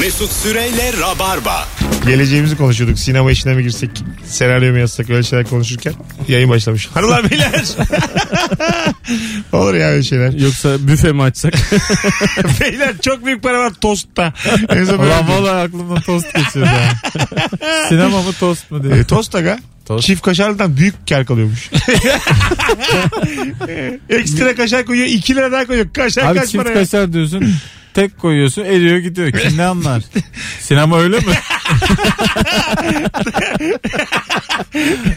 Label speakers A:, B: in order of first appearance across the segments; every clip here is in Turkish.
A: Mesut Süreyle Rabarba.
B: Geleceğimizi konuşuyorduk. Sinema işine mi girsek, senaryo mu yazsak öyle şeyler konuşurken yayın başlamış. Hanımlar beyler. Olur ya öyle şeyler.
C: Yoksa büfe mi açsak?
B: beyler çok büyük para var tostta. En son böyle-
C: Ulan valla aklımdan tost geçiyor ya. Sinema mı tost mu diye.
B: E, tost aga.
C: Tost.
B: Çift kaşarlıdan büyük kar kalıyormuş. Ekstra kaşar koyuyor. 2 lira daha koyuyor. Kaşar
C: Abi
B: kaç
C: çift
B: para ya?
C: kaşar diyorsun. Tek koyuyorsun eriyor gidiyor. Kim ne anlar? Sinema öyle mi?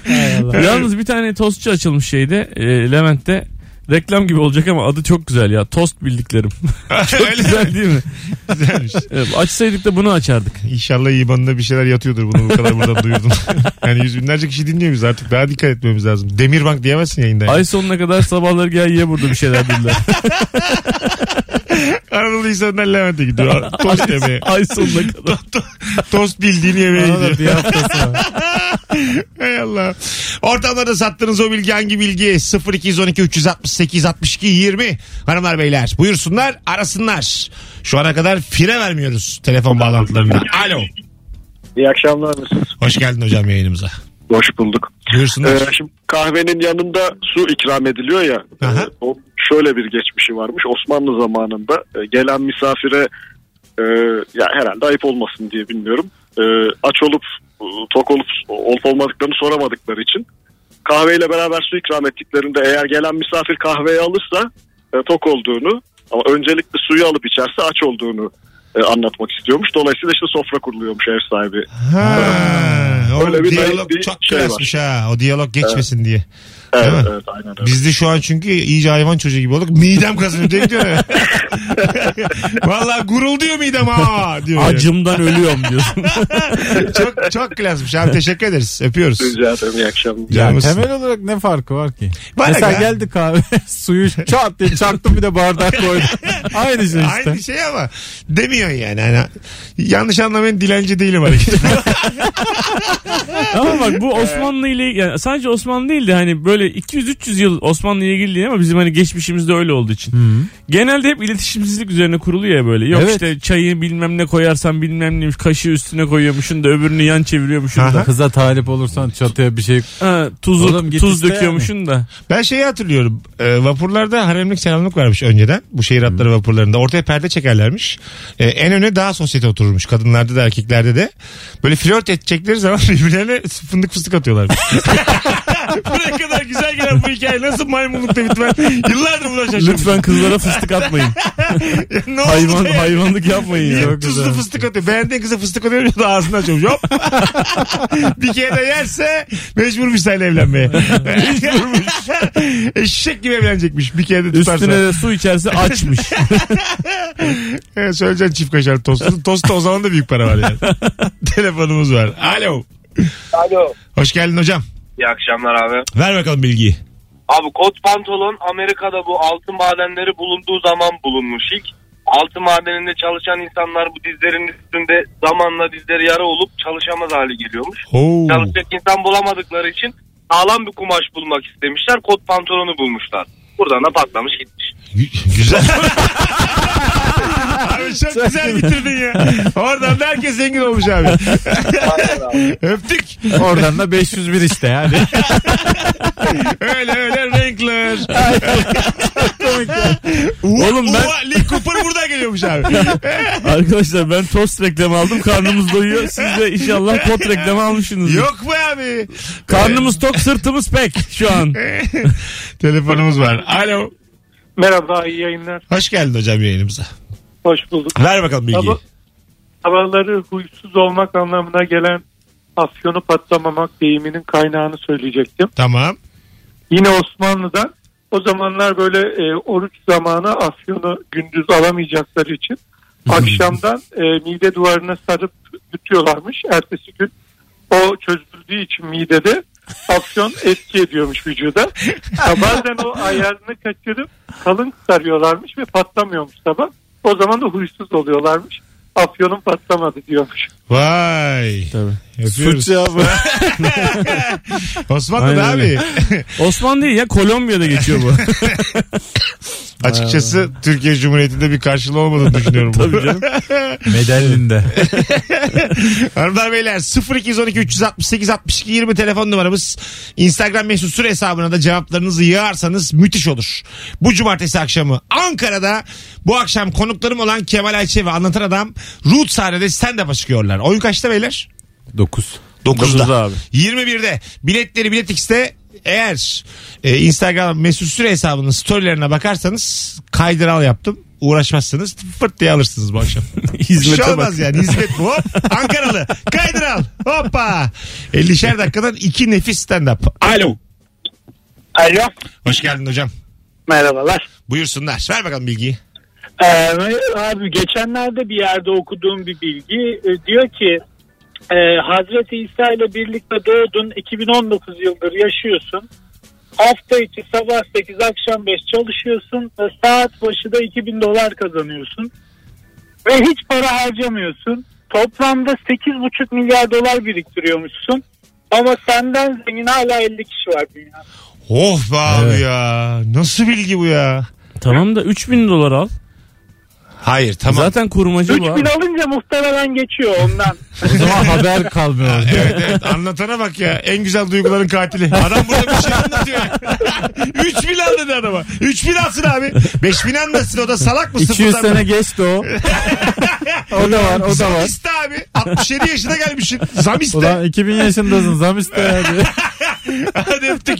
C: Hay Allah.
D: Yalnız bir tane tostçu açılmış şeyde e, Levent'te. Reklam gibi olacak ama adı çok güzel ya. Tost bildiklerim. çok güzel değil mi?
B: Güzelmiş.
D: Evet, Açsaydık da bunu açardık.
B: İnşallah IBAN'da bir şeyler yatıyordur bunu bu kadar buradan duyurdum. yani yüz binlerce kişi dinliyor bizi artık daha dikkat etmemiz lazım. Demirbank diyemezsin yayında. Yani.
D: Ay sonuna kadar sabahları gel ye burada bir şeyler dediler.
B: Anadolu insanlar Levent'e gidiyor. Tost yemeğe.
D: Ay sonuna kadar.
B: Tost bildiğin yemeğe
C: Bana da
B: gidiyor.
C: bir haftası var.
B: Hay Allah. Ortamlarda sattığınız o bilgi hangi bilgi? 0212 368 62 20. Hanımlar beyler buyursunlar arasınlar. Şu ana kadar fire vermiyoruz telefon bağlantılarında. Alo.
E: İyi akşamlar Mesut.
B: Hoş geldin hocam yayınımıza.
E: Hoş bulduk.
B: Buyursunlar.
E: Ee, şimdi kahvenin yanında su ikram ediliyor ya.
B: Aha.
E: e, o şöyle bir geçmişi varmış. Osmanlı zamanında e, gelen misafire e, ya herhalde ayıp olmasın diye bilmiyorum. E, aç olup e, tok olup olup olmadıklarını soramadıkları için kahveyle beraber su ikram ettiklerinde eğer gelen misafir kahveyi alırsa e, tok olduğunu ama öncelikle suyu alıp içerse aç olduğunu e, anlatmak istiyormuş. Dolayısıyla işte sofra kuruluyormuş ev sahibi.
B: Ha, o
E: Öyle bir
B: diyalog
E: bir
B: çok
E: şey var.
B: klasmış ha. O diyalog geçmesin diye.
E: Evet,
B: mi?
E: evet aynen öyle.
B: Biz de şu an çünkü iyice hayvan çocuğu gibi olduk. Midem kazınıyor diye gidiyor. ya. Vallahi gurulduyor midem ha diyor. ya.
D: Acımdan ölüyorum diyorsun.
B: Çok, çok klasmış abi teşekkür ederiz. Öpüyoruz.
E: Rica ederim iyi akşamlar.
C: Ya
B: Canımızsın.
C: temel olarak ne farkı var ki?
B: Var
C: Mesela
B: ya.
C: geldi kahve suyu çat diye çaktım bir de bardak koydum. Aynı şey işte.
B: Aynı şey ama demiyorsun yani. Hani yanlış anlamayın dilenci değilim hareket.
D: ama bak bu Osmanlı ile yani sadece Osmanlı değil de hani böyle 200-300 yıl Osmanlı ile ilgili değil ama bizim hani geçmişimizde öyle olduğu için. Genelde hep iletişimsizlik üzerine kuruluyor ya böyle. Yok
C: Evet.
D: işte çayı bilmem ne koyarsan bilmem neymiş kaşığı üstüne koyuyormuşsun da öbürünü yan çeviriyormuşsun da.
C: Kıza talip olursan çatıya bir şey
D: Ha, tuzu,
C: Oğlum git
D: tuz
C: iste
D: döküyormuşsun da.
B: ben şeyi hatırlıyorum. E, vapurlarda haremlik selamlık varmış önceden. Bu şehir hatları vapurlarında. Ortaya perde çekerlermiş. E, en öne daha sosyete otururmuş. Kadınlarda da erkeklerde de. Böyle flört edecekleri zaman birbirlerine fındık fıstık atıyorlar. Buraya kadar güzel gelen bu hikaye nasıl maymunlukta bitmez? Yıllardır buna şaşırmışım.
D: Lütfen kızlara fıstık atmayın.
B: ne oldu
D: Hayvan
B: ya?
D: hayvanlık yapmayın ya.
B: Yiyip tuzlu fıstık atıyor. Beğendiğin kıza fıstık atıyor da ağzını açıyormuş. Hop. bir kere de yerse mecburmuş seninle evlenmeye. mecburmuş. Eşek gibi evlenecekmiş bir kere de tutarsa.
D: Üstüne de su içerse açmış.
B: Ee, söyleyeceksin çift kaşar tostu. Tosta o zaman da büyük para var yani. Telefonumuz var. Alo.
F: Alo.
B: Hoş geldin hocam.
F: İyi akşamlar abi.
B: Ver bakalım bilgiyi.
F: Abi kot pantolon Amerika'da bu altın madenleri bulunduğu zaman bulunmuş ilk. Altın madeninde çalışan insanlar bu dizlerin üstünde zamanla dizleri yara olup çalışamaz hale geliyormuş.
B: Oo.
F: Çalışacak insan bulamadıkları için sağlam bir kumaş bulmak istemişler. Kot pantolonu bulmuşlar. Buradan da patlamış gitmiş.
B: Gü- Güzel. Abi çok güzel bitirdin ya. Oradan da herkes zengin olmuş abi. Öptük.
C: Oradan da 501 işte yani.
B: Öyle öyle renkler.
D: Oğlum ben-
B: Uva, Lee Cooper burada geliyormuş abi.
D: Arkadaşlar ben tost reklamı aldım. Karnımız doyuyor. Siz de inşallah kot reklamı almışsınız.
B: Yok mu abi?
D: Karnımız tok sırtımız pek şu an.
B: Telefonumuz var. Alo.
G: Merhaba, iyi yayınlar.
B: Hoş geldin hocam yayınımıza.
G: Hoş bulduk.
B: Ver bakalım bilgiyi.
G: Alo. Sabahları huysuz olmak anlamına gelen afyonu patlamamak deyiminin kaynağını söyleyecektim.
B: Tamam.
G: Yine Osmanlı'da o zamanlar böyle e, oruç zamanı afyonu gündüz alamayacakları için akşamdan e, mide duvarına sarıp yutuyorlarmış. Ertesi gün o çözüldüğü için midede afyon etki ediyormuş vücuda. Ha, bazen o ayarını kaçırıp kalın sarıyorlarmış ve patlamıyormuş sabah. O zaman da huysuz oluyorlarmış. Afyonun patlamadı diyormuş.
B: Vay.
D: Tabii.
B: Yapıyoruz.
C: Suç ya bu.
B: Osmanlı
D: Aynen
B: abi.
D: öyle. Osman değil ya Kolombiya'da geçiyor bu.
B: Açıkçası Türkiye Cumhuriyeti'nde bir karşılığı olmadığını düşünüyorum.
D: Tabii canım.
C: Medellinde.
B: Hanımlar beyler 0212 368 62 20 telefon numaramız. Instagram mesut süre hesabına da cevaplarınızı yığarsanız müthiş olur. Bu cumartesi akşamı Ankara'da bu akşam konuklarım olan Kemal Ayçe ve Anlatan Adam Root sahnede stand-up'a çıkıyorlar. Oyun kaçta beyler?
C: 9.
B: 9'da.
D: Dokuzda abi.
B: 21'de. Biletleri Bilet X'te eğer e, Instagram mesut süre hesabının storylerine bakarsanız kaydıral yaptım. Uğraşmazsınız fırt diye alırsınız bu akşam. Bir şey
D: Hizmete bak.
B: olmaz yani. Hizmet bu. Hop. Ankaralı. Kaydır al. Hoppa. 50'şer dakikadan iki nefis stand-up. Alo.
H: Alo.
B: Hoş geldin hocam.
H: Merhabalar.
B: Buyursunlar. Ver bakalım bilgiyi.
H: Ee, abi geçenlerde bir yerde okuduğum bir bilgi e, diyor ki e, Hazreti İsa ile birlikte doğdun 2019 yıldır yaşıyorsun. Hafta içi sabah 8 akşam 5 çalışıyorsun ve saat başı da 2000 dolar kazanıyorsun. Ve hiç para harcamıyorsun. Toplamda 8,5 milyar dolar biriktiriyormuşsun. Ama senden zengin hala 50 kişi var dünyada.
B: Of Oh be abi
C: Evet.
B: ya. Nasıl bilgi bu ya?
D: Tamam da 3000 dolar al.
B: Hayır tamam.
D: Zaten kurmacı bu
H: 3000
D: abi.
H: alınca muhtemelen geçiyor ondan.
C: O zaman haber kalmıyor.
B: Evet, evet. Anlatana bak ya. En güzel duyguların katili. Adam burada bir şey anlatıyor. ya. 3 bin al dedi adama. 3 bin alsın abi. 5 bin almasın o da salak mı?
C: 200
B: Sıfırdan
C: sene geçti o. o da var o da var.
B: Zamiste abi. 67 yaşına gelmişsin. Zamiste.
C: Ulan 2000 yaşındasın zamiste yani.
B: Hadi öptük.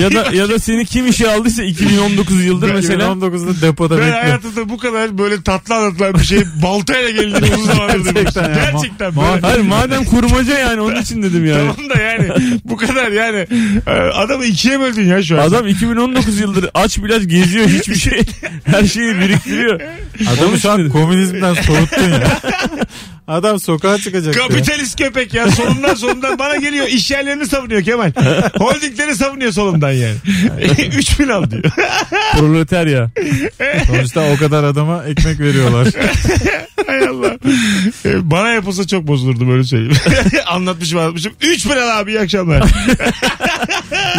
D: Ya da ya da seni kim işe aldıysa 2019 yıldır mesela
C: 2019'da depoda
B: Ben
C: bekliyor.
B: hayatımda bu kadar böyle tatlı anlatılan bir şey baltayla geldiğini uzun zamandır duymamıştım.
C: Gerçekten ya.
B: Gerçekten
C: Ma-
B: böyle.
D: Hayır madem kurmaca yani onun için dedim yani.
B: Tamam da yani bu kadar yani Ee, adamı ikiye böldün ya şu an.
D: Adam 2019 yıldır aç biraz geziyor hiçbir şey. Her şeyi biriktiriyor.
C: Adamı şu an komünizmden soğuttun ya. Adam sokağa çıkacak. ya.
B: Kapitalist köpek ya solundan solundan bana geliyor iş yerlerini savunuyor Kemal. Holdingleri savunuyor solundan yani. 3 bin al diyor.
D: Proletarya.
C: Sonuçta o kadar adama ekmek veriyorlar.
B: Hay Allah. Ee, Bana yapılsa çok bozulurdum öyle söyleyeyim. anlatmışım anlatmışım. 3 bin al abi iyi akşamlar.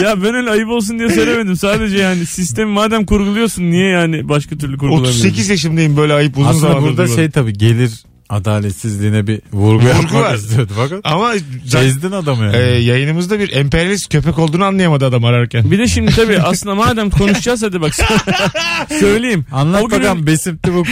D: Ya ben öyle ayıp olsun diye söylemedim. Sadece yani sistemi madem kurguluyorsun niye yani başka türlü kurgulamıyorsun?
B: 38 yaşındayım böyle ayıp uzun
C: Aslında
B: zamandır.
C: burada
B: duymadım.
C: şey tabii gelir adaletsizliğine bir vurgu, yapmak
B: var.
C: istiyordu. Bakın
B: Ama zaten
C: ezdin adamı yani.
B: Ee, yayınımızda bir emperyalist köpek olduğunu anlayamadı adam ararken.
D: Bir de şimdi tabii aslında madem konuşacağız hadi bak söyleyeyim.
C: Anlat
D: o günün,
C: bakalım besimti bu.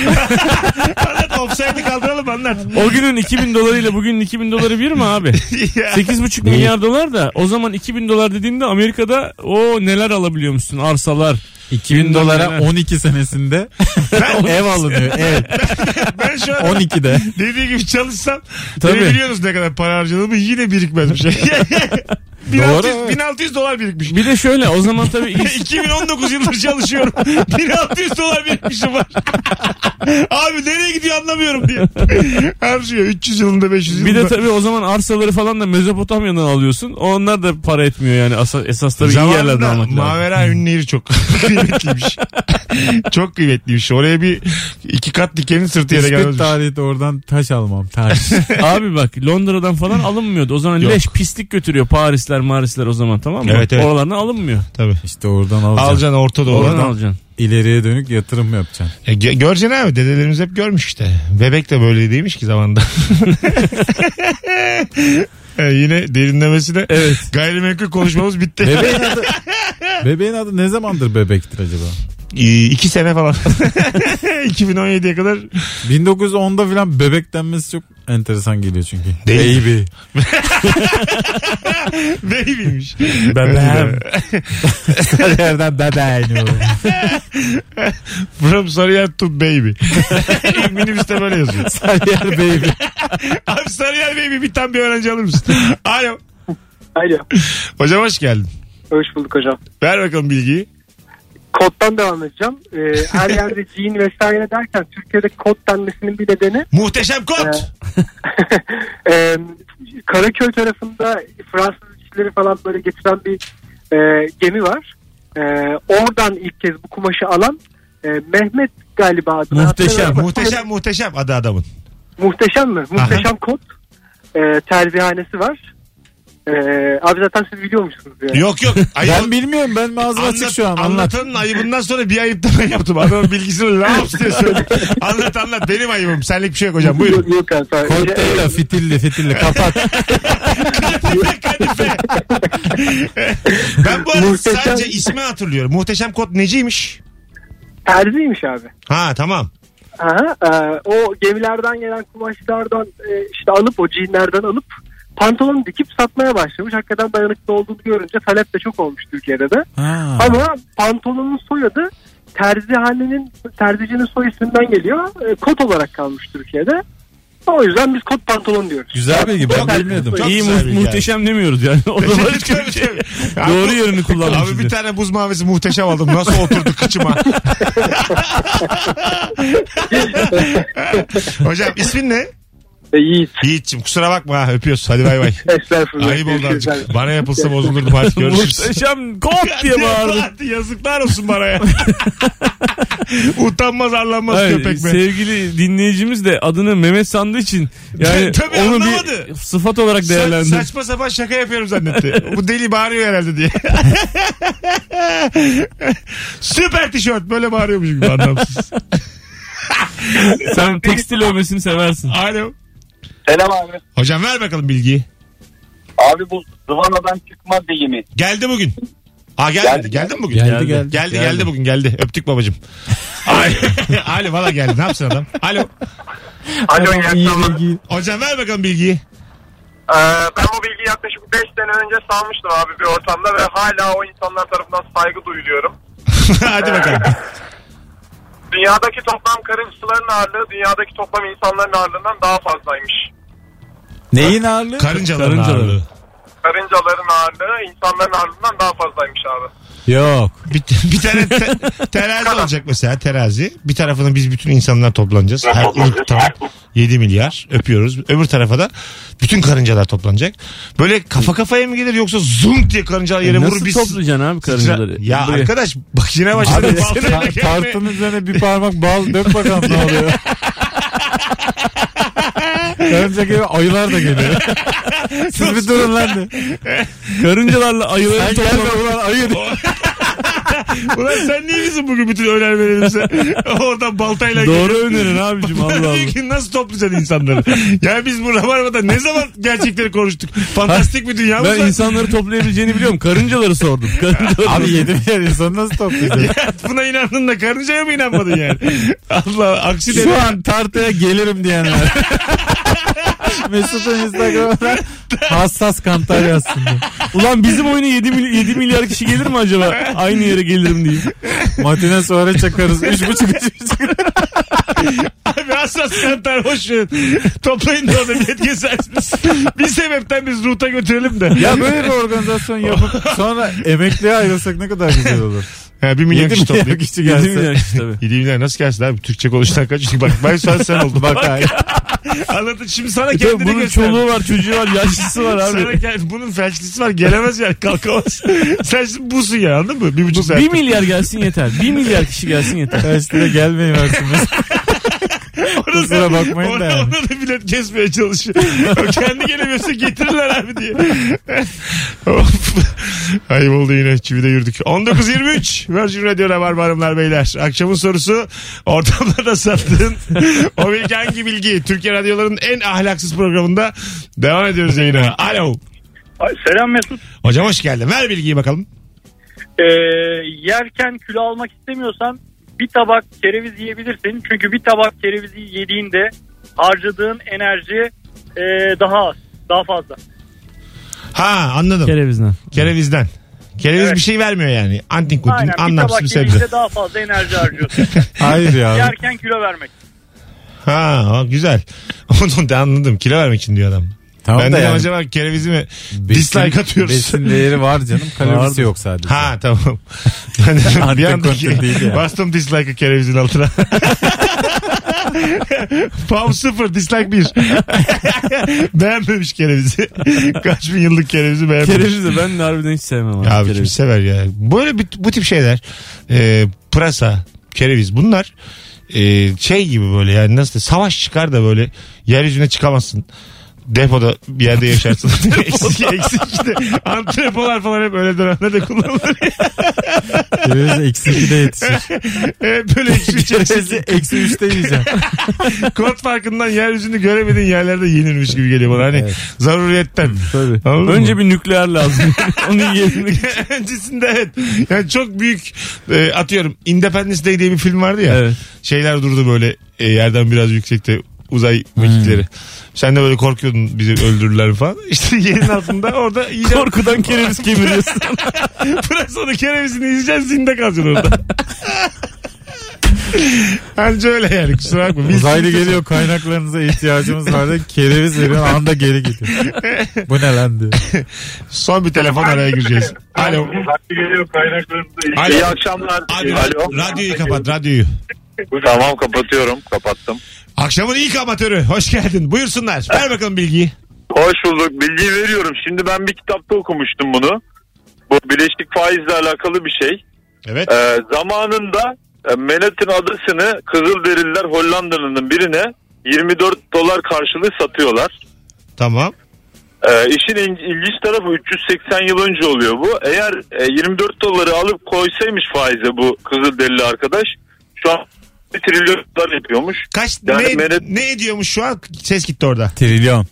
B: Anlat offside'i kaldıralım anlat.
D: O günün 2000 dolarıyla bugünün 2000 doları bir mi abi?
B: Ya.
D: 8,5 milyar dolar da o zaman 2000 dolar dediğinde Amerika'da o neler alabiliyormuşsun arsalar.
C: 2000 dolara 12 senesinde ev alınıyor. Ev
B: ben şu an
C: 12'de.
B: dediği gibi çalışsam
D: Tabii.
B: beni biliyorsunuz ne kadar para harcadığımı yine birikmez bir şey. 1600,
C: evet.
B: 1600 dolar birikmiş.
D: Bir de şöyle o zaman tabii ins-
B: 2019 yıldır çalışıyorum. 1600 dolar birikmişim var. Abi nereye gidiyor anlamıyorum diye. Harcıyor 300 yılında 500
D: bir
B: yılında.
D: de tabii o zaman arsaları falan da Mezopotamya'dan alıyorsun. Onlar da para etmiyor yani Asa- esas tabii iyi yerlerden
B: Zamanında
D: almak lazım.
B: Mavera Ünlüyeri çok kıymetliymiş. çok kıymetliymiş. Oraya bir iki kat dikenin sırtı yere
C: Hiçbir
B: gelmezmiş.
C: tarihi de oradan taş almam. Taş.
D: Abi bak Londra'dan falan alınmıyordu. O zaman
B: Yok.
D: leş pislik götürüyor Parisler Marisler o zaman tamam mı?
B: Evet, evet.
D: Oralardan alınmıyor.
B: Tabii.
C: İşte oradan alacaksın.
B: Alacaksın Orta
D: Oradan
B: Doğu'dan.
D: alacaksın.
C: İleriye dönük yatırım yapacaksın.
B: E, gö- göreceksin abi dedelerimiz hep görmüş işte. Bebek de böyle değilmiş ki zamanda. E, yine derinlemesine
D: Evet.
B: gayrimenkul konuşmamız bitti.
C: Bebeğin adı, bebeğin adı ne zamandır bebektir acaba?
B: E, iki sene falan. 2017'ye kadar
C: 1910'da filan bebek denmesi çok enteresan geliyor çünkü.
B: Değil.
C: Baby.
B: babymiş.
C: Bebeğim. Her yerden bebeğim.
B: From Sarıyer to baby. Minibüste böyle yazıyor.
C: Her yer baby.
B: Abi Sarıyer baby bir tam bir öğrenci alır mısın? Alo.
H: Alo.
B: Hocam hoş geldin.
H: Hoş bulduk hocam.
B: Ver bakalım bilgiyi.
H: Koddan devam edeceğim. Ee, her yerde cin vesaire derken Türkiye'de kod denmesinin bir nedeni
B: Muhteşem kod.
H: e, Karaköy tarafında Fransız işçileri falan böyle getiren bir e, gemi var. E, oradan ilk kez bu kumaşı alan e, Mehmet galiba adını
D: Muhteşem,
H: hatırlamıyorum.
B: Muhteşem muhteşem adı adamın.
H: Muhteşem mi? Muhteşem kod e, terbihanesi var.
G: Ee, abi zaten siz biliyormuşsunuz yani.
B: Yok yok. Ayıp.
C: Ben bilmiyorum ben mağazam açık
B: Anlat,
C: şu an. Anlat.
B: anlatanın ayıbından sonra bir ayıp daha yaptım. Adamın bilgisini laps diye söyledim. anlat anlat benim ayıbım. Senlik bir şey yok hocam buyurun.
G: Yok, yok abi. Ee,
C: Kokteyla fitilli fitilli kapat.
B: Kadife. ben bu arada
G: Muhteşem.
B: sadece ismi hatırlıyorum. Muhteşem kod neciymiş?
G: Terziymiş abi.
B: Ha tamam.
G: Aha, e, o gemilerden gelen kumaşlardan e, işte alıp o jeanlerden alıp pantolon dikip satmaya başlamış. Hakikaten dayanıklı olduğunu görünce talep de çok olmuş Türkiye'de de.
C: Ha.
G: Ama pantolonun soyadı terzihanenin terzicinin soy isminden geliyor. E, kot olarak kalmış Türkiye'de. O yüzden biz kot pantolon diyoruz.
C: Güzel bilgi ben bilmiyordum.
B: Çok
D: İyi
B: güzel
D: mu-
B: bir
D: muhteşem demiyoruz yani. O da var.
B: Tabii, tabii.
D: Doğru yönünü kullanmış.
B: Abi bir tane buz mavisi muhteşem aldım. Nasıl oturdu kıçıma? Hocam ismin ne?
G: E, Yiğit.
B: Yiğit'cim kusura bakma ha, öpüyoruz. Hadi bay bay.
G: Estağfurullah.
B: Ayıp oldu
G: Görüşürüz abi.
B: azıcık. Bana yapılsa bozulurdum artık görüşürüz.
D: Muhteşem kot diye bağırdı.
B: Yazıklar olsun bana ya. Utanmaz arlanmaz
D: Hayır,
B: köpek be.
D: sevgili dinleyicimiz de adını Mehmet sandığı için yani
B: Tabii,
D: onu
B: anlamadı.
D: bir sıfat olarak
B: Sa-
D: değerlendir.
B: saçma sapan şaka yapıyorum zannetti. Bu deli bağırıyor herhalde diye. Süper tişört böyle bağırıyormuş gibi anlamsız.
D: Sen tekstil övmesini seversin.
B: Alo.
F: Selam abi.
B: Hocam ver bakalım bilgiyi.
F: Abi bu zıvanadan çıkma deyimi.
B: Geldi bugün. Aa geldi. Geldi,
F: Geldi.
B: mi bugün?
C: Geldi, geldi.
B: Geldi geldi, bugün geldi. Öptük babacım. Ay- Alo valla geldi. Ne yapsın adam? Alo.
F: Alo iyi
C: İyi
F: akşamlar.
C: bilgi.
B: Hocam ver bakalım bilgiyi.
G: E,
F: Ee, ben bu bilgiyi yaklaşık 5 sene önce salmıştım abi bir ortamda ve hala o insanlar tarafından saygı duyuluyorum.
B: Hadi bakalım.
F: Dünyadaki toplam karın suların ağırlığı dünyadaki toplam insanların ağırlığından daha fazlaymış.
C: Neyin ağırlığı?
B: Karıncaların
D: Karıncaların.
B: ağırlığı.
F: Karıncaların ağırlığı insanların ağırlığından daha fazlaymış abi.
C: Yok.
B: Bir, bir tane te- terazi olacak mesela terazi. Bir tarafına biz bütün insanlar toplanacağız. Her ırktan 7 milyar öpüyoruz. Öbür tarafa da bütün karıncalar toplanacak. Böyle kafa kafaya mı gelir yoksa zung diye karıncalar yere vurur
D: E, Nasıl
B: biz...
D: toplayacaksın abi karıncaları?
B: Ya
D: Buraya.
B: arkadaş bak yine başladı.
C: Abi
B: Baltayla
C: ta-
B: gelme.
C: tartın üzerine bir parmak bal dök bakalım ne oluyor. Karınca gibi ayılar da geliyor. Siz bir durun lan de.
D: Karıncalarla ayıları
C: Ben
D: toplamak.
C: gelme ulan ayı diye.
B: Ulan sen niye bizim bugün bütün öğlen verelim sen? Oradan baltayla
D: Doğru önerin abicim Allah Allah.
B: Diyor ki nasıl toplayacaksın insanları? Yani biz bu Rabarba'da ne zaman gerçekleri konuştuk? Fantastik bir dünya mı?
D: Ben
B: var?
D: insanları toplayabileceğini biliyorum. Karıncaları sordum. Karıncaları.
C: Abi yedi milyar insanı nasıl toplayacağız?
B: Ya Buna inandın da karıncaya mı inanmadın yani? Allah aksi de.
C: Şu an tartıya gelirim diyenler. Mesut'un Instagram'dan hassas kantar yazsın diye.
D: Ulan bizim oyuna 7, mil- 7 milyar kişi gelir mi acaba? Aynı yere gelirim diyeyim.
C: Matine sonra çakarız. Üç buçuk, üç buçuk.
B: Abi hassas kantar hoş verin. Toplayın da orada millet kesersiniz. Bir sebepten biz ruta götürelim de.
C: Ya böyle bir organizasyon yapıp sonra emekliye ayrılsak ne kadar güzel olur.
B: Ha, bir milyon
C: Yedi
B: kişi
C: milyar
B: toplayın.
C: kişi
D: 7
C: gelse.
D: milyar kişi tabii.
B: 7 milyar nasıl gelsin abi? Türkçe konuştan kaç? Bak ben şu an sen oldum.
C: Bak abi.
B: Anlatın şimdi sana
D: E tabii
B: kendini
D: bunun
B: göster.
D: çoluğu var, çocuğu var, yaşlısı var
B: Sana
D: abi.
B: gel, bunun felçlisi var gelemez yani kalkamaz. Sen şimdi busun ya anladın mı? Bir buçuk saat.
D: 1 milyar gelsin yeter. 1 milyar kişi gelsin yeter.
C: Tersiyle gelmeyin varsınız.
B: Ona
C: Kusura bakmayın
B: ona,
C: da yani.
B: ona da bilet kesmeye çalışıyor. O kendi gelemiyorsa getirirler abi diye. Of. Ayıp oldu yine çivide yürüdük. 19.23 Virgin Radio Rabarba Hanımlar Beyler. Akşamın sorusu ortamlarda sattığın o bilgi hangi bilgi? Türkiye Radyoları'nın en ahlaksız programında devam ediyoruz yayına. Alo.
H: Selam Mesut.
B: Hocam hoş geldin. Ver bilgiyi bakalım.
H: Ee, yerken kilo almak istemiyorsan bir tabak kereviz yiyebilirsin. Çünkü bir tabak kerevizi yediğinde harcadığın enerji e, daha az, daha fazla.
B: Ha anladım.
D: Kerevizden.
B: Kerevizden. Kereviz
H: Evet.
B: bir şey vermiyor yani. Antin kutin
H: Aynen bir
B: anlamsız
H: tabak
B: bir sebze.
H: kerevizde daha fazla enerji harcıyorsun.
C: Hayır ya.
H: yerken kilo vermek.
B: Ha o güzel. Onu da anladım. Kilo vermek için diyor adam.
C: Tamam
B: ben
C: da
B: dedim
C: yani
B: acaba kerevizi mi
C: besin-
B: dislike atıyoruz.
C: Besin değeri var canım. Kalorisi yok sadece.
B: Ha tamam. Ben dedim, bir
C: Antin
B: anda
C: kontin değil yani.
B: bastım dislike'ı kerevizin altına. Pam sıfır dislike bir. beğenmemiş kerevizi. Kaç bin yıllık kerevizi beğenmemiş.
D: Kereviz de ben de harbiden hiç sevmem abi.
B: Ya Abi kim
D: kereviz.
B: sever ya. Böyle bir- bu tip şeyler. e, pırasa, kereviz bunlar e, şey gibi böyle yani nasıl de, savaş çıkar da böyle yeryüzüne çıkamazsın. depoda bir yerde yaşarsın. eksik, eksik işte. Antrepolar falan hep öyle dönemlerde kullanılır.
C: Kereviz eksi 2'de yetişir.
B: Hep böyle eksik
C: Kerevizi
B: içerisinde.
C: eksi 3'te yiyeceğim.
B: Kod farkından yeryüzünü göremediğin yerlerde yenilmiş gibi geliyor bana. Hani zaruriyetten.
C: Tabii.
B: Anladın
D: Önce
B: mı?
D: bir nükleer lazım. Onun yerine.
B: Öncesinde evet. Yani çok büyük e, atıyorum Independence Day diye bir film vardı ya.
D: Evet.
B: Şeyler durdu böyle e, yerden biraz yüksekte uzay mekikleri. Sen de böyle korkuyordun bizi öldürürler falan. İşte yerin altında orada yiyeceğim.
D: Korkudan kereviz kemiriyorsun.
B: Pırasını kerevizini yiyeceksin zinde kalacaksın orada. Anca öyle yani kusura bakma. Biz
C: Uzaylı geliyor kaynaklarınıza ihtiyacımız var diye kereviz veriyor anda geri gidiyor. Bu ne lan diyor.
B: son bir telefon araya gireceğiz. Alo.
I: geliyor kaynaklarımızda.
B: Alo.
E: İyi akşamlar.
B: Abi,
E: Ee, Alo.
B: Radyoyu kapat radyoyu.
E: Tamam kapatıyorum. Kapattım.
B: Akşamın ilk amatörü. Hoş geldin. Buyursunlar. Ver bakalım bilgiyi.
E: Hoş bulduk. Bilgi veriyorum. Şimdi ben bir kitapta okumuştum bunu. Bu bileşik faizle alakalı bir şey.
B: Evet.
E: Ee, zamanında e, Manhattan adasını Kızılderililer Hollanda'nın birine 24 dolar karşılığı satıyorlar.
B: Tamam.
E: Ee, işin il- ilginç tarafı 380 yıl önce oluyor bu. Eğer e, 24 doları alıp koysaymış faize bu Kızılderili arkadaş şu an bir trilyon dolar yapıyormuş.
B: Kaç
E: Yani
B: ne,
E: menet-
B: ne ediyormuş şu an? Ses gitti orada.
C: Trilyon.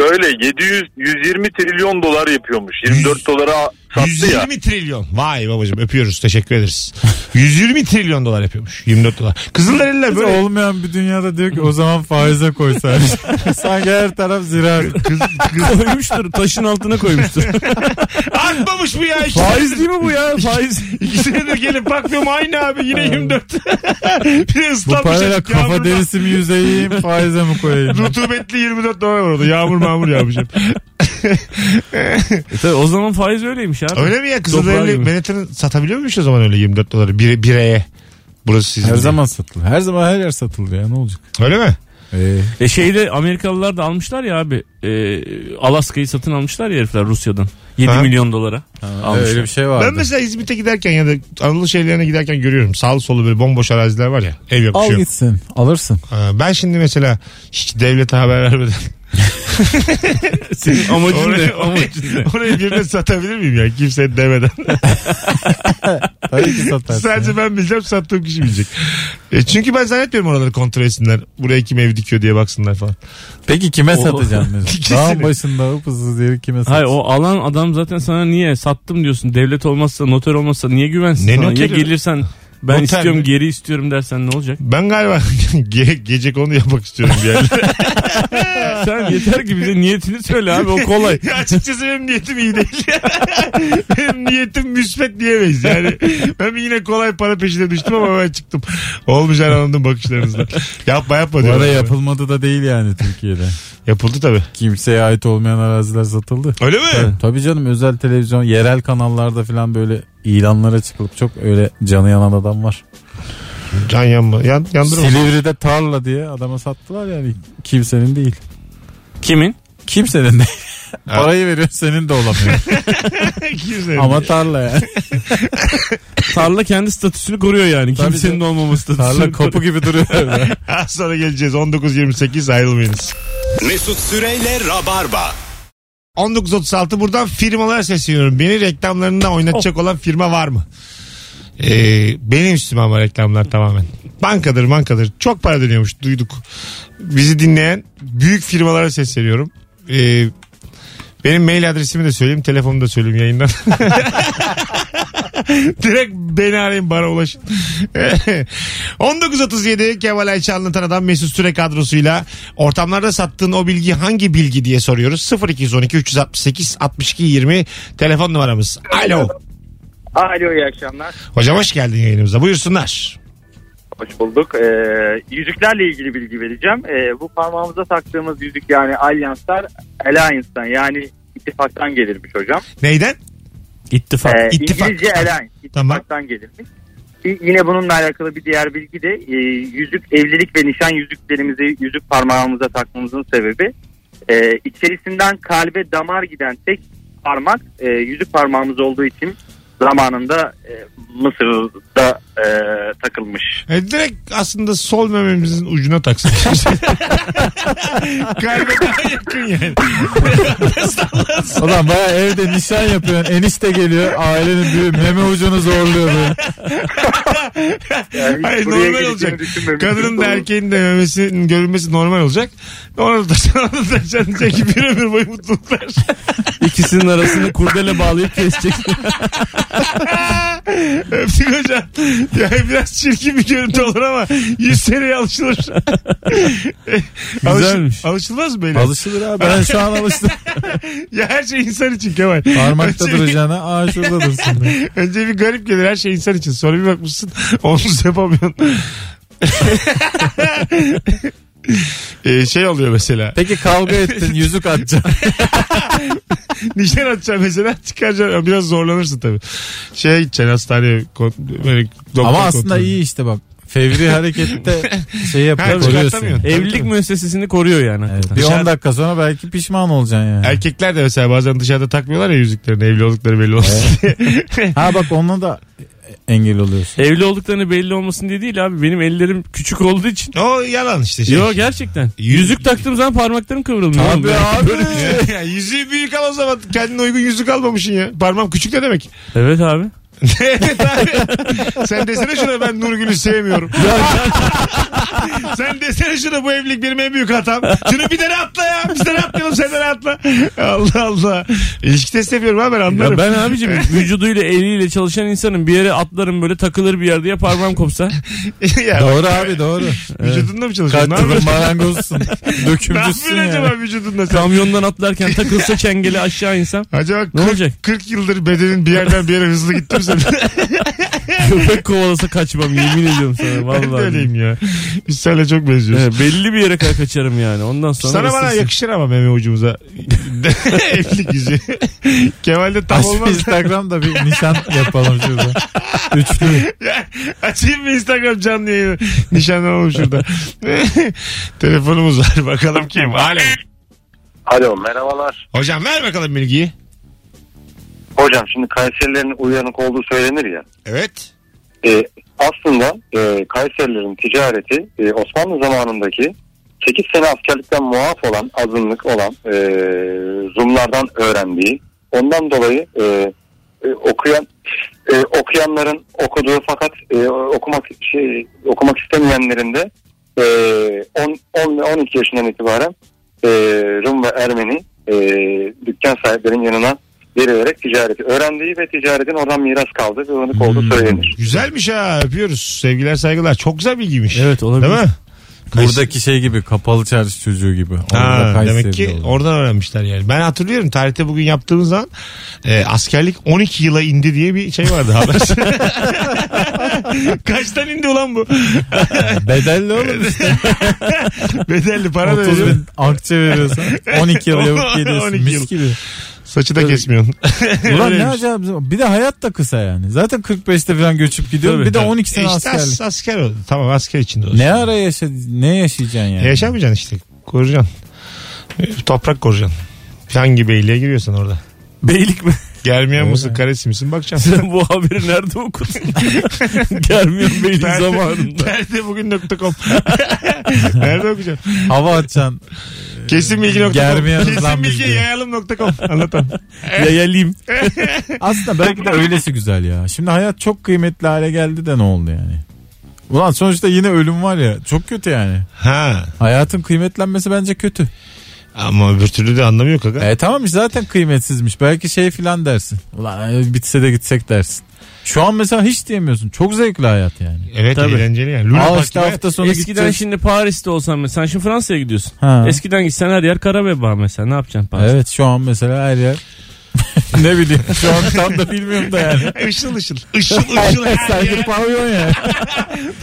E: Şöyle 700 120 trilyon dolar yapıyormuş. 24 dolara sattı ya.
B: 120 trilyon. Vay babacığım öpüyoruz. Teşekkür ederiz. 120 trilyon dolar yapıyormuş. 24 dolar. Kızılderililer
C: Böyle
B: böyle
C: olmayan bir dünyada diyor ki o zaman faize koysaymış. Sanki her taraf ziraat.
B: Kız, kız,
D: koymuştur. Taşın altına koymuştur.
B: artmamış bu ya. İki
C: Faiz
B: senedir-
C: değil mi bu ya? Faiz.
B: İki senedir gelip bakmıyorum aynı abi yine 24. bir de
C: Bu
B: ıslanmış
C: parayla
B: açık yağmurda.
C: kafa derisi mi yüzeyim faize mi koyayım?
B: Rutubetli 24 dolar var orada. Yağmur mağmur yağmış hep.
D: E Tabii o zaman faiz öyleymiş abi.
B: Öyle mi ya?
D: Toprağı
B: Kızılderili
D: gibi.
B: Manhattan'ı satabiliyor muymuş o zaman öyle 24 doları? Bir, bireye. Burası sizin.
C: Her
B: diye.
C: zaman satılıyor. Her zaman her yer satılıyor ya ne olacak?
B: Öyle mi?
C: Ee,
D: E şeyde Amerikalılar da almışlar ya abi. E, Alaska'yı satın almışlar ya herifler Rusya'dan. 7
B: Ha.
D: milyon dolara almışlar.
C: öyle bir şey
B: Ben
C: vardı.
B: mesela İzmit'e giderken ya da Anadolu şehirlerine giderken görüyorum. Sağlı solu böyle bomboş araziler var ya. Ev
C: Al
B: yapışıyor.
C: gitsin alırsın.
B: Ha, Ben şimdi mesela hiç devlete haber vermeden
D: Senin amacın ne?
B: oraya,
D: Amacın ne?
B: oraya, oraya birine satabilir miyim ya? Kimseye demeden.
C: Tabii ki satarsın.
B: Sadece ben bileceğim sattığım kişi bilecek. E, çünkü ben zannetmiyorum oraları kontrol etsinler. Buraya kim ev dikiyor diye baksınlar falan.
C: Peki kime
D: O-
C: satacaksın? mesela?
B: İkisini.
C: Dağın başında hıpızız yeri kime
D: Hayır
C: satacaksın?
D: o alan adam zaten sana niye sattım diyorsun. Devlet olmazsa noter olmazsa niye güvensin
B: Ne
D: sana? Ya
B: noteri?
D: gelirsen ben
B: Noter
D: istiyorum
B: mi?
D: geri istiyorum dersen ne olacak?
B: Ben galiba ge- gece konu yapmak istiyorum bir yerlere.
D: Sen yeter ki bize niyetini söyle abi o kolay.
B: Ya Açıkçası benim niyetim iyi değil. benim niyetim müsbet diyemeyiz. Yani ben yine kolay para peşine düştüm ama ben çıktım. Olmayacağını anladım bakışlarınızdan. Yapma yapma
C: Bu
B: diyorlar.
C: ara yapılmadı da değil yani Türkiye'de.
B: Yapıldı tabii.
C: Kimseye ait olmayan araziler satıldı.
B: Öyle mi?
C: Tabii, tabii canım özel televizyon, yerel kanallarda falan böyle ilanlara çıkılıp çok öyle canı yanan adam var.
B: Can yanma. Yan, yandırma.
C: Silivri'de tarla diye adama sattılar yani kimsenin değil.
D: Kimin?
C: Kimsenin değil. Parayı veriyor senin de olamıyor.
B: Kimse.
C: Ama tarla yani.
D: Tarla kendi statüsünü koruyor yani.
C: Tabii
D: Kimsenin
C: canım.
D: olmaması statüsünü
C: Tarla
D: koruyor.
C: kopu gibi duruyor. öyle.
B: Az sonra geleceğiz. 19.28 ayrılmayınız.
A: Mesut Süreyle Rabarba.
B: 19.36 buradan firmalara sesleniyorum. Beni reklamlarında oynatacak olan firma var mı? Ee, benim üstüme ama reklamlar tamamen. Bankadır bankadır. Çok para dönüyormuş duyduk. Bizi dinleyen büyük firmalara sesleniyorum. Ee, benim mail adresimi de söyleyeyim. Telefonumu da söyleyeyim yayından. Direkt beni arayın bana ulaşın. 1937 Kemal Ayça anlatan adam Mesut Süre kadrosuyla ortamlarda sattığın o bilgi hangi bilgi diye soruyoruz. 0212 368 62 20 telefon numaramız. Alo.
H: Alo iyi akşamlar.
B: Hocam hoş geldin yayınımıza buyursunlar.
H: Hoş bulduk. Ee, yüzüklerle ilgili bilgi vereceğim. Ee, bu parmağımıza taktığımız yüzük yani alyanslar alliance'dan yani ittifaktan gelirmiş hocam.
B: Neyden?
D: İttifak.
H: Ee,
B: ittifak.
H: İngilizce alliance
B: Tamam.
H: ittifaktan gelirmiş. Y- Yine bununla alakalı bir diğer bilgi de e, yüzük evlilik ve nişan yüzüklerimizi yüzük parmağımıza takmamızın sebebi e, içerisinden kalbe damar giden tek parmak e, yüzük parmağımız olduğu için zamanında e, Mısır'da
J: e, takılmış.
B: E, direkt aslında sol mememizin ucuna taksak. Kalbe daha yakın yani.
C: Ulan baya evde nişan yapıyorsun. Enişte geliyor. Ailenin büyüğü meme ucunu zorluyor böyle.
J: Yani hiç buraya
B: Hayır normal
J: geleceğini
B: olacak.
J: düşünmemiştim.
B: Kadının da
J: Doğru.
B: erkeğin de memesinin görünmesi normal olacak. Ona da taşan, ona da taşan diyecek ki bir ömür boyu mutluluklar.
C: İkisinin arasını kurdele bağlayıp kesecek.
B: Öptük hocam. Yani biraz çirkin bir görüntü olur ama 100 seneye alışılır.
D: Güzelmiş.
B: alışılmaz mı böyle?
C: Alışılır abi. Ben şu an alıştım.
B: ya her şey insan için Kemal.
C: Parmakta
B: Önce-
C: duracağına aa şurada dursun. diye.
B: Önce bir garip gelir her şey insan için. Sonra bir bakmışsın omuz yapamıyorsun. Ee, şey oluyor mesela.
C: Peki kavga ettin yüzük atacaksın.
B: Nişan atacaksın mesela çıkaracaksın. Biraz zorlanırsın tabii. Şeye gideceksin hastaneye. kon- Böyle doktor
C: Ama aslında
B: kontrolü.
C: iyi işte bak. Fevri harekette şey
B: Ha,
C: yapıyor koruyorsun.
B: çıkartamıyorsun.
D: Evlilik müessesesini koruyor yani.
C: Evet,
D: hakikaten.
C: bir
B: Dışarı-
C: 10 dakika sonra belki pişman olacaksın yani.
B: Erkekler de mesela bazen dışarıda takmıyorlar ya yüzüklerini evli oldukları belli olsun diye.
C: Ha bak onunla da engel oluyorsun.
D: Evli olduklarını belli olmasın diye değil abi. Benim ellerim küçük olduğu için.
B: o yalan işte. Şey.
D: Yo gerçekten. Yüzük taktığım zaman parmaklarım kıvrılmıyor. oğlum.
C: Abi abi.
B: ya yüzüğü büyük al o zaman. Kendine uygun yüzük almamışsın ya. Parmağım küçük ne demek?
D: Evet abi.
B: evet abi. Sen desene şuna ben Nurgül'ü sevmiyorum. Sen desene şuna bu evlilik benim en büyük hatam. Şunu bir tane atla ya. Biz de atlayalım sen de atla. Allah Allah. İlişki testi yapıyorum ha ben anlarım.
D: Ya ben abicim vücuduyla eliyle çalışan insanım. Bir yere atlarım böyle takılır bir yerde ya parmağım kopsa.
B: Ya
C: Doğru abi doğru.
B: Vücudunda mı çalışıyorsun? Ne
C: Katlı
B: yapıyorsun?
C: marangozsun.
B: Ne
C: Dökümcüsün
B: yapıyorsun
C: yani.
B: acaba vücudunda sen?
D: Kamyondan atlarken takılsa çengeli aşağı insem.
B: Acaba 40,
D: Ne olacak?
B: 40 yıldır bedenin bir yerden bir yere hızlı gitti mi sen?
D: Köpek kovalasa kaçmam yemin ediyorum sana.
B: ben de
D: Vallahi.
B: öyleyim ya. Biz seninle çok benziyoruz.
D: Evet, belli bir yere kadar kaçarım yani. Ondan sonra
B: Sana bana
D: ısırsın.
B: yakışır ama meme ucumuza. Evlilik yüzü. Kemal'de tam
C: Aç bir
B: olmaz.
C: Instagram'da bir nişan yapalım şurada. Üçlü.
B: Ya, Açayım mı Instagram canlı yayını? Nişanlanalım şurada. Telefonumuz var. Bakalım kim? Alo.
K: Alo merhabalar.
B: Hocam ver bakalım bilgiyi.
K: Hocam şimdi Kayserilerin uyanık olduğu söylenir ya.
B: Evet.
K: E, aslında e, Kayserilerin ticareti e, Osmanlı zamanındaki 8 sene askerlikten muaf olan, azınlık olan e, Rumlardan öğrendiği. Ondan dolayı e, e, okuyan e, okuyanların okuduğu fakat e, okumak şey okumak istemeyenlerin de e, 10 10 ve 12 yaşından itibaren e, Rum ve Ermeni e, dükkan sahiplerinin yanına verilerek ticareti öğrendiği ve ticaretin oradan miras kaldı ve uyanık olduğu söylenir.
B: Güzelmiş ha. Öpüyoruz. Sevgiler saygılar. Çok güzel bilgiymiş.
D: Evet olabilir.
B: Değil mi?
C: Buradaki şey gibi kapalı çarşı çocuğu gibi. Orada
B: Ha,
C: Kayseri'de
B: demek ki
C: oluyor.
B: oradan öğrenmişler yani. Ben hatırlıyorum tarihte bugün yaptığımız zaman e, askerlik 12 yıla indi diye bir şey vardı haber. Kaçtan indi ulan bu?
C: Bedelli oğlum.
B: Bedelli para da
C: 30
B: veriyor.
C: bin akçe veriyorsan 12 yıl yapıp geliyorsun
B: 12 yıl.
C: mis gibi.
B: Saçı da kesmiyorsun.
C: Ulan ne
B: Öyleymiş.
C: acayip. zaman. Bir de hayat da kısa yani. Zaten 45'te falan göçüp gidiyorum.
D: Tabii,
C: Bir de
D: tabii.
C: 12 sene
B: İşte
C: askerlik.
B: as- asker oldu. Tamam asker içinde olsun. E,
C: Ne ara yaşa ne yaşayacaksın yani?
B: Yaşamayacaksın işte. Koruyacaksın. E, Toprak koruyacaksın. Hangi beyliğe giriyorsan orada.
D: Beylik mi?
B: Germiyan mısın, karesi misin bakacaksın.
D: Sen bu haberi nerede okudun? Germiyan Beylik zamanında.
B: Nerede bugün.com Nerede okuyacağım?
C: Hava atacaksın.
B: Kesin bilgi.com
C: Germiyan
B: Kesin
C: lan biz
B: bilgi
C: diyor.
B: yayalım.com Anlatan.
D: Yayalıyım.
C: Aslında belki de öylesi güzel ya. Şimdi hayat çok kıymetli hale geldi de ne oldu yani? Ulan sonuçta yine ölüm var ya. Çok kötü yani.
B: Ha
C: Hayatın kıymetlenmesi bence kötü.
B: ama öbür türlü de anlamı yok aga.
C: E tamam işte zaten kıymetsizmiş. Belki şey filan dersin. Ulan e, bitse de gitsek dersin. Şu an mesela hiç diyemiyorsun. Çok zevkli hayat yani.
B: Evet
D: Tabii.
B: eğlenceli yani. Luna
C: Aa
B: Park
C: işte
B: gibi.
C: hafta sonu
D: Eskiden
C: gideceğiz.
D: şimdi Paris'te olsan mesela. Sen şimdi Fransa'ya gidiyorsun.
C: Ha.
D: Eskiden gitsen her yer kara veba mesela. Ne yapacaksın Paris'te?
C: Evet şu an mesela her yer. ne bileyim şu an tam da bilmiyorum da yani.
B: Işıl ışıl. Işıl ışıl. her
C: Saygı
B: yer.
C: pavyon ya.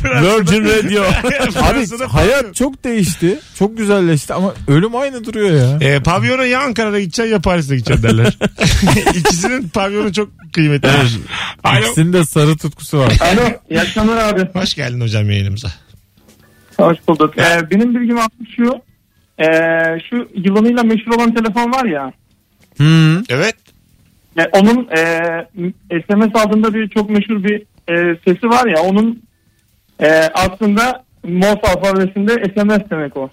D: Virgin Radio.
C: Abi
B: Fransa'da pavyon.
C: hayat çok değişti. Çok güzelleşti ama ölüm aynı duruyor ya.
B: E, pavyona ya Ankara'da gideceksin ya Paris'te gideceksin derler. İkisinin pavyonu çok kıymetli. Alo.
C: İkisinin de sarı tutkusu var.
G: Alo iyi akşamlar abi.
B: Hoş geldin hocam yayınımıza.
G: Hoş bulduk. Ee, benim bilgim aslında şu. Ee, şu yılanıyla meşhur olan telefon var ya. e,
B: Evet.
G: Yani onun e, SMS aldığında bir çok meşhur bir e, sesi var ya onun e, aslında Morse alfabesinde SMS demek o.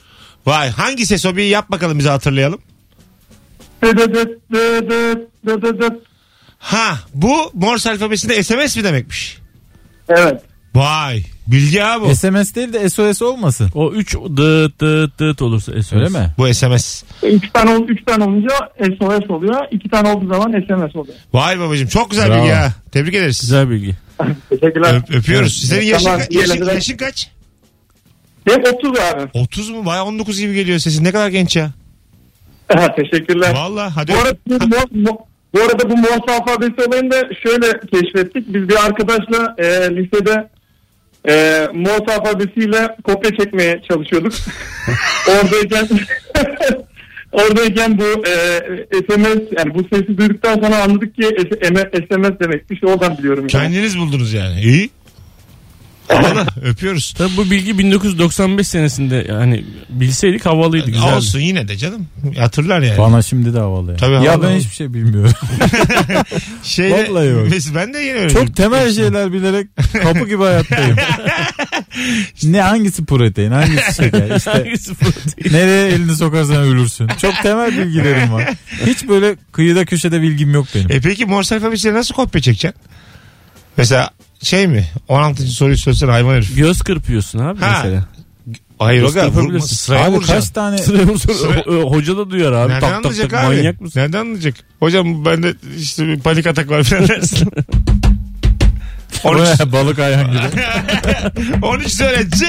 B: Vay hangi ses o bir yap bakalım bize hatırlayalım.
G: Dıdıdıt, dıdıdıt, dıdıdıt.
B: Ha bu Morse alfabesinde SMS mi demekmiş?
G: Evet.
B: Vay bilgi abi bu.
C: SMS değil de SOS olmasın.
D: O 3 dıt dıt dıt olursa SOS.
C: Öyle mi?
B: Bu SMS.
G: İki tane, ol- üç tane olunca SOS oluyor. İki tane olduğu zaman SMS oluyor.
B: Vay babacığım çok güzel
C: Bravo.
B: bilgi ha. Tebrik ederiz.
D: Güzel bilgi.
G: Teşekkürler.
B: Öp- öpüyoruz. Senin yaşın,
G: Tamam,
B: ka- yaşın,
G: diyelim.
B: yaşın kaç?
G: Hep 30 abi.
B: 30 mu? Vay 19 gibi geliyor sesin. Ne kadar genç ya.
G: Teşekkürler.
B: Valla hadi.
G: Bu arada bu, Mo- Mo- bu arada bu Morse alfabesi olayını da şöyle keşfettik. Biz bir arkadaşla e, lisede e, Morse alfabesiyle kopya çekmeye çalışıyorduk. oradayken oradayken bu e, SMS yani bu sesi duyduktan sonra anladık ki S- SMS demekmiş. Oradan biliyorum. Yani.
B: Kendiniz buldunuz yani. İyi. Valla öpüyoruz.
D: Tabii bu bilgi 1995 senesinde yani bilseydik havalıydı güzeldi.
B: Olsun yine de canım. Hatırlar yani.
C: Bana şimdi de havalı. ya.
B: Tabii
C: ya
B: havalı.
C: ben hiçbir şey bilmiyorum.
B: Şeyde,
C: Vallahi bak.
B: Mes- ben de yeni öğrendim.
C: Çok temel şeyler bilerek kapı gibi hayattayım. ne hangisi protein hangisi şeker işte
D: Hangisi protein?
C: nereye elini sokarsan ölürsün. Çok temel bilgilerim var. Hiç böyle kıyıda köşede bilgim yok benim.
B: E peki Morse alfabesiyle nasıl kopya çekeceksin? Mesela şey mi? 16. soruyu söylesene hayvan herif.
D: Göz kırpıyorsun abi
B: Ha.
D: mesela.
B: Hayır o kadar.
D: Yapabilirsin.
B: Vurma, sıraya
C: abi
B: vuracaksın.
C: kaç tane
D: Sıraya vursun.
B: Sıra-
D: Ho- Hoca da duyar abi.
B: Nereden
D: tak tak
B: anlayacak
D: tak
B: abi?
D: manyak mısın?
B: Nereden anlayacak? Hocam bende işte bir panik atak var falan dersin. 13,
C: balık ayağın gibi.
B: 13 söyle C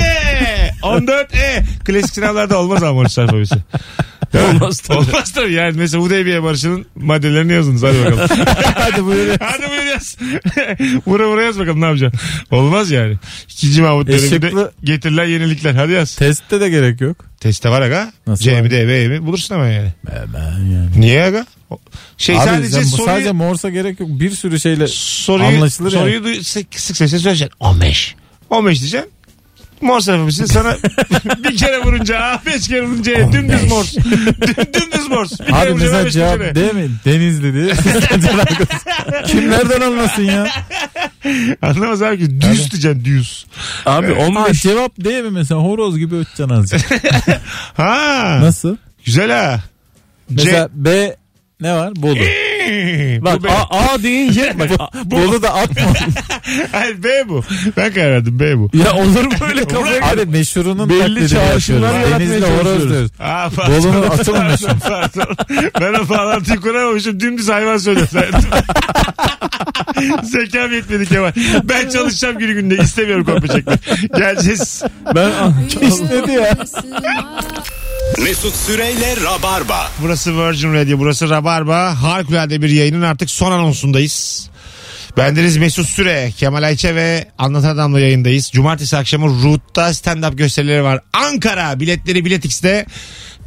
B: 14 E klasik sınavlarda olmaz ama 13 alfabesi.
D: Olmaz tabii.
B: Olmaz tabii yani mesela Hudeybiye Barışı'nın maddelerini yazınız hadi bakalım.
C: Hadi buyurun.
B: hadi buyur yaz. vura vura yaz bakalım ne yapacaksın. Olmaz yani. İkinci Mahmut
C: E,
B: döneminde
C: Işıklı-
B: getirilen yenilikler hadi yaz.
C: Testte de gerek yok.
B: Teste var aga.
C: Nasıl
B: C
C: var?
B: mi D mi E mi bulursun ama yani.
C: Ben yani.
B: Niye aga? O- Şey
C: Abi
B: sadece
C: sen bu-
B: soruyu...
C: sadece Morse'a gerek yok. Bir sürü şeyle
B: soruyu,
C: Anlaşılır
B: soruyu duy- sık, sık sesle söyleyeceksin. 15. 15 diyeceksin. Morse alfabesini sana bir kere vurunca, ah, beş kere vurunca dümdüz morse. Düm- dümdüz morse. Bir kere
C: Abi
B: vurunca
C: mesela
B: beş
C: cevap
B: kere.
C: D mi? Denizli diye. Kim nereden anlasın ya?
B: Anlamaz abi ki. Düz diyeceksin düz.
D: Abi
C: Ha,
D: 15
C: cevap D mi mesela? Horoz gibi öteceksin azıcık.
B: Ha.
C: Nasıl?
B: Güzel ha.
C: Mesela B ne var? Bolu.
B: C. Bu
D: Bak
B: B.
D: A, A deyince bak A-
C: Bolu da atma.
B: Hayır B bu. Ben karar verdim B bu.
D: ya olur mu öyle kafaya göre?
C: Abi meşhurunun
D: Belli
C: taklidini
D: çağrışımlar
C: yapıyoruz.
D: yaratmaya
C: Denizli horoz
D: çalışıyoruz.
C: diyoruz.
B: Aa, pardon.
C: Bolu'nun atılmış.
B: Pardon. ben o bağlantıyı kuramamışım. Dümdüz hayvan söyleseydim. Zekam yetmedi Kemal. Ben çalışacağım günü günde. İstemiyorum kopya çekmek. Geleceğiz.
D: Ben
C: İşledi ya.
A: Mesut Süreyle Rabarba.
B: Burası Virgin Radio. Burası Rabarba. Harikulade bir yayının artık son anonsundayız. Bendeniz Mesut Süre, Kemal Ayçe ve Anlatan Adam'la yayındayız. Cumartesi akşamı Root'ta stand-up gösterileri var. Ankara biletleri Bilet X'de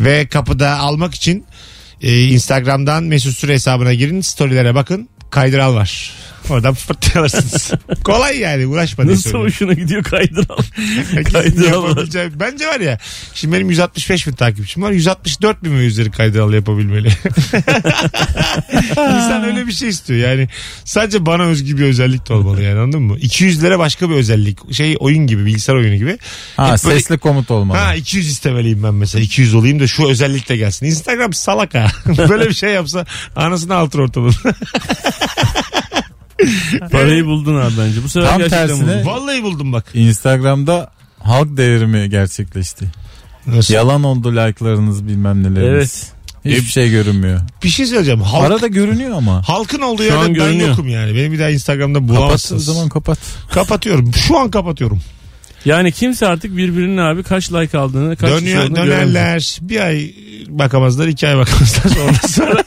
B: ve kapıda almak için e, Instagram'dan Mesut Süre hesabına girin. Storylere bakın. Kaydıral var. Oradan fırt alırsınız. Kolay yani uğraşma diye
D: nasıl
B: söylüyorum.
D: hoşuna gidiyor kaydıral.
B: Herkesin
D: Kaydıral var.
B: yapabileceği- Bence var ya. Şimdi benim 165 bin takipçim var. 164 bin mi üzeri kaydıral yapabilmeli? İnsan öyle bir şey istiyor. Yani sadece bana özgü bir özellik de olmalı yani anladın mı? 200'lere başka bir özellik. Şey oyun gibi bilgisayar oyunu gibi.
C: Ha
B: Hep böyle-
C: sesli komut olmalı.
B: Ha 200 istemeliyim ben mesela. 200 olayım da şu özellik de gelsin. Instagram salak ha. Böyle bir şey yapsa anasını altır ortalığı.
D: Parayı buldun abi bence. Bu sefer
C: Tam
D: gerçekten
C: tersine-
D: buldun.
B: Vallahi buldum bak.
C: Instagram'da halk devrimi gerçekleşti.
B: Nasıl?
C: Yalan oldu like'larınız bilmem neleriniz.
D: Evet.
C: Hiçbir şey görünmüyor.
B: Bir şey söyleyeceğim. Halk,
C: Arada görünüyor ama.
B: Halkın olduğu
D: Şu an
B: yerde ben
D: görünüyor.
B: yokum yani. Beni bir daha Instagram'da
C: Kapattığın
B: bulamazsınız.
C: zaman kapat.
B: Kapatıyorum. Şu an kapatıyorum.
D: Yani kimse artık birbirinin abi kaç like aldığını kaç kişi
B: Dönüyor,
D: olduğunu göremez.
B: dönerler. Bir ay bakamazlar, iki ay bakamazlar. Ondan sonra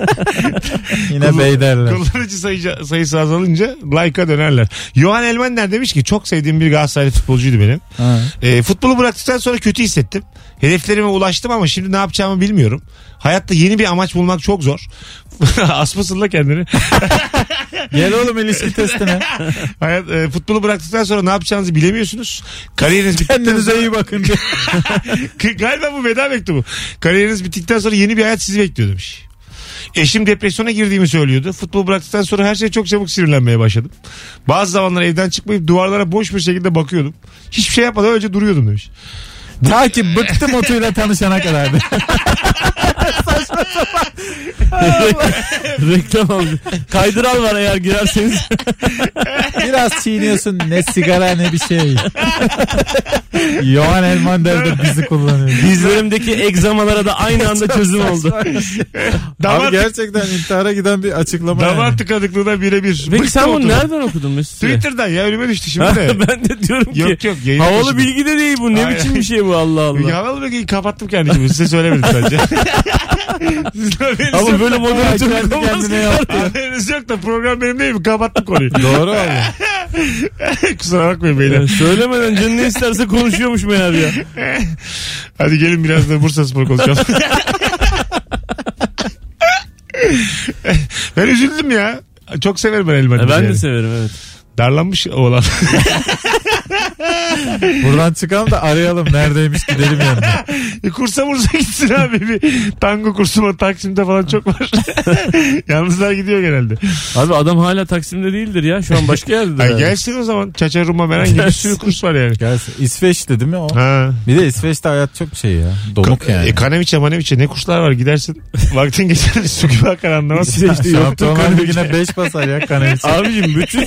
C: Yine
B: Kullan-
C: bey derler.
B: kullanıcı sayıca- sayısı azalınca like'a dönerler. Johan Elmander demiş ki çok sevdiğim bir Galatasaraylı futbolcuydu benim.
C: Ha.
B: E, futbolu bıraktıktan sonra kötü hissettim. Hedeflerime ulaştım ama şimdi ne yapacağımı bilmiyorum. Hayatta yeni bir amaç bulmak çok zor. Asmasın la kendini.
C: Gel oğlum ilişki testine.
B: Hayat, e, futbolu bıraktıktan sonra ne yapacağınızı bilemiyorsunuz. Kariyeriniz bittikten sonra...
C: Kendinize iyi bakın.
B: Galiba bu veda mektubu. Kariyeriniz bittikten sonra yeni bir hayat sizi bekliyor demiş. Eşim depresyona girdiğimi söylüyordu. Futbol bıraktıktan sonra her şey çok çabuk sinirlenmeye başladım. Bazı zamanlar evden çıkmayıp duvarlara boş bir şekilde bakıyordum. Hiçbir şey yapmadan önce duruyordum demiş.
C: Ta ki bıktım otuyla tanışana kadar.
D: Reklam oldu. Kaydıral var eğer girerseniz.
C: Biraz çiğniyorsun ne sigara ne bir şey. Johan Elmander de bizi kullanıyor.
D: Dizlerimdeki egzamalara da aynı anda çözüm oldu.
B: Damar,
C: Abi gerçekten intihara giden bir açıklama.
B: damar
C: yani.
B: tıkanıklığına birebir.
D: Peki
B: Bıktım
D: sen bunu
B: oturdum.
D: nereden okudun Mesut? Süre?
B: Twitter'dan ya önüme düştü
D: Ha,
B: şimdi de.
D: ben de diyorum ki
B: yok yok yayın
D: havalı
B: taşıdım.
D: bilgi de değil bu. Ne
B: Aynen.
D: biçim bir şey bu Allah Allah.
B: Yalan mı ki kapattım kendi gibi size söylemedim sadece. Sizin haberiniz
D: Ama
B: yok.
D: böyle moderatörlük
C: kendi
D: olmaz.
C: kendine yaptı.
B: Haberiniz yok da program benim değil mi? Kapattım konuyu.
C: Doğru abi.
B: Kusura bakmayın beyler.
D: Ya Söylemeden canı ne isterse konuşuyormuş meğer ya.
B: Hadi gelin biraz da Bursa Spor konuşalım. ben üzüldüm ya. Çok severim ben Elman'ı.
D: E ben de severim evet.
B: Darlanmış oğlan.
C: Buradan çıkalım da arayalım neredeymiş gidelim yanına.
B: E, Kursa Bursa gitsin abi. Bir tango kursu var. Taksim'de falan çok var. Yalnızlar gidiyor genelde.
D: Abi adam hala Taksim'de değildir ya. Şu an başka yerdedir.
B: Ay,
D: herhalde.
B: gelsin o zaman. Çaça Ruma Meren gibi bir sürü kurs var yani.
C: Gelsin. İsveç'te değil mi o?
B: Ha.
C: Bir de İsveç'te hayat çok şey ya. Donuk yani.
B: E, kaneviçe maneviçe ne kurslar var gidersin. Vaktin geçer su gibi akar anlamazsın.
C: İsveç'te yoktu
D: kaneviçe.
C: Yine 5 basar ya kaneviçe.
D: Abicim bütün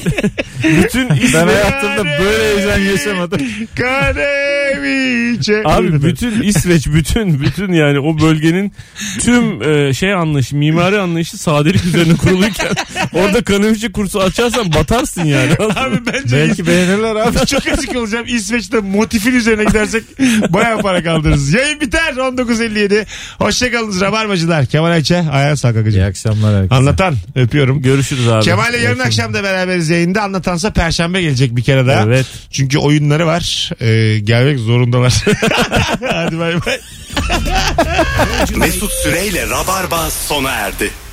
D: bütün is-
C: ben hayatımda böyle heyecan yaşamadım.
B: Kaneviçe.
D: abi bütün İsveç bütün bütün yani o bölgenin tüm e, şey anlayışı mimari anlayışı sadelik üzerine kuruluyken orada kaneviçe kursu açarsan batarsın yani.
B: Abi bence
C: Belki beğenirler abi.
B: İs- çok açık olacağım. İsveç'te motifin üzerine gidersek bayağı para kaldırırız. Yayın biter 19.57. Hoşçakalınız Rabarbacılar. Kemal Ayça, Ayhan
C: İyi
B: Sakakıcı.
C: akşamlar herkese.
B: Anlatan öpüyorum.
D: Görüşürüz abi.
B: Kemal'le yarın akşam da beraberiz yayında. Anlatansa perşembe gelecek bir kere daha.
D: Evet.
B: Çünkü oyunları var. Ee, gelmek zorundalar. Hadi bay bay.
A: Mesut Süreyle Rabarba sona erdi.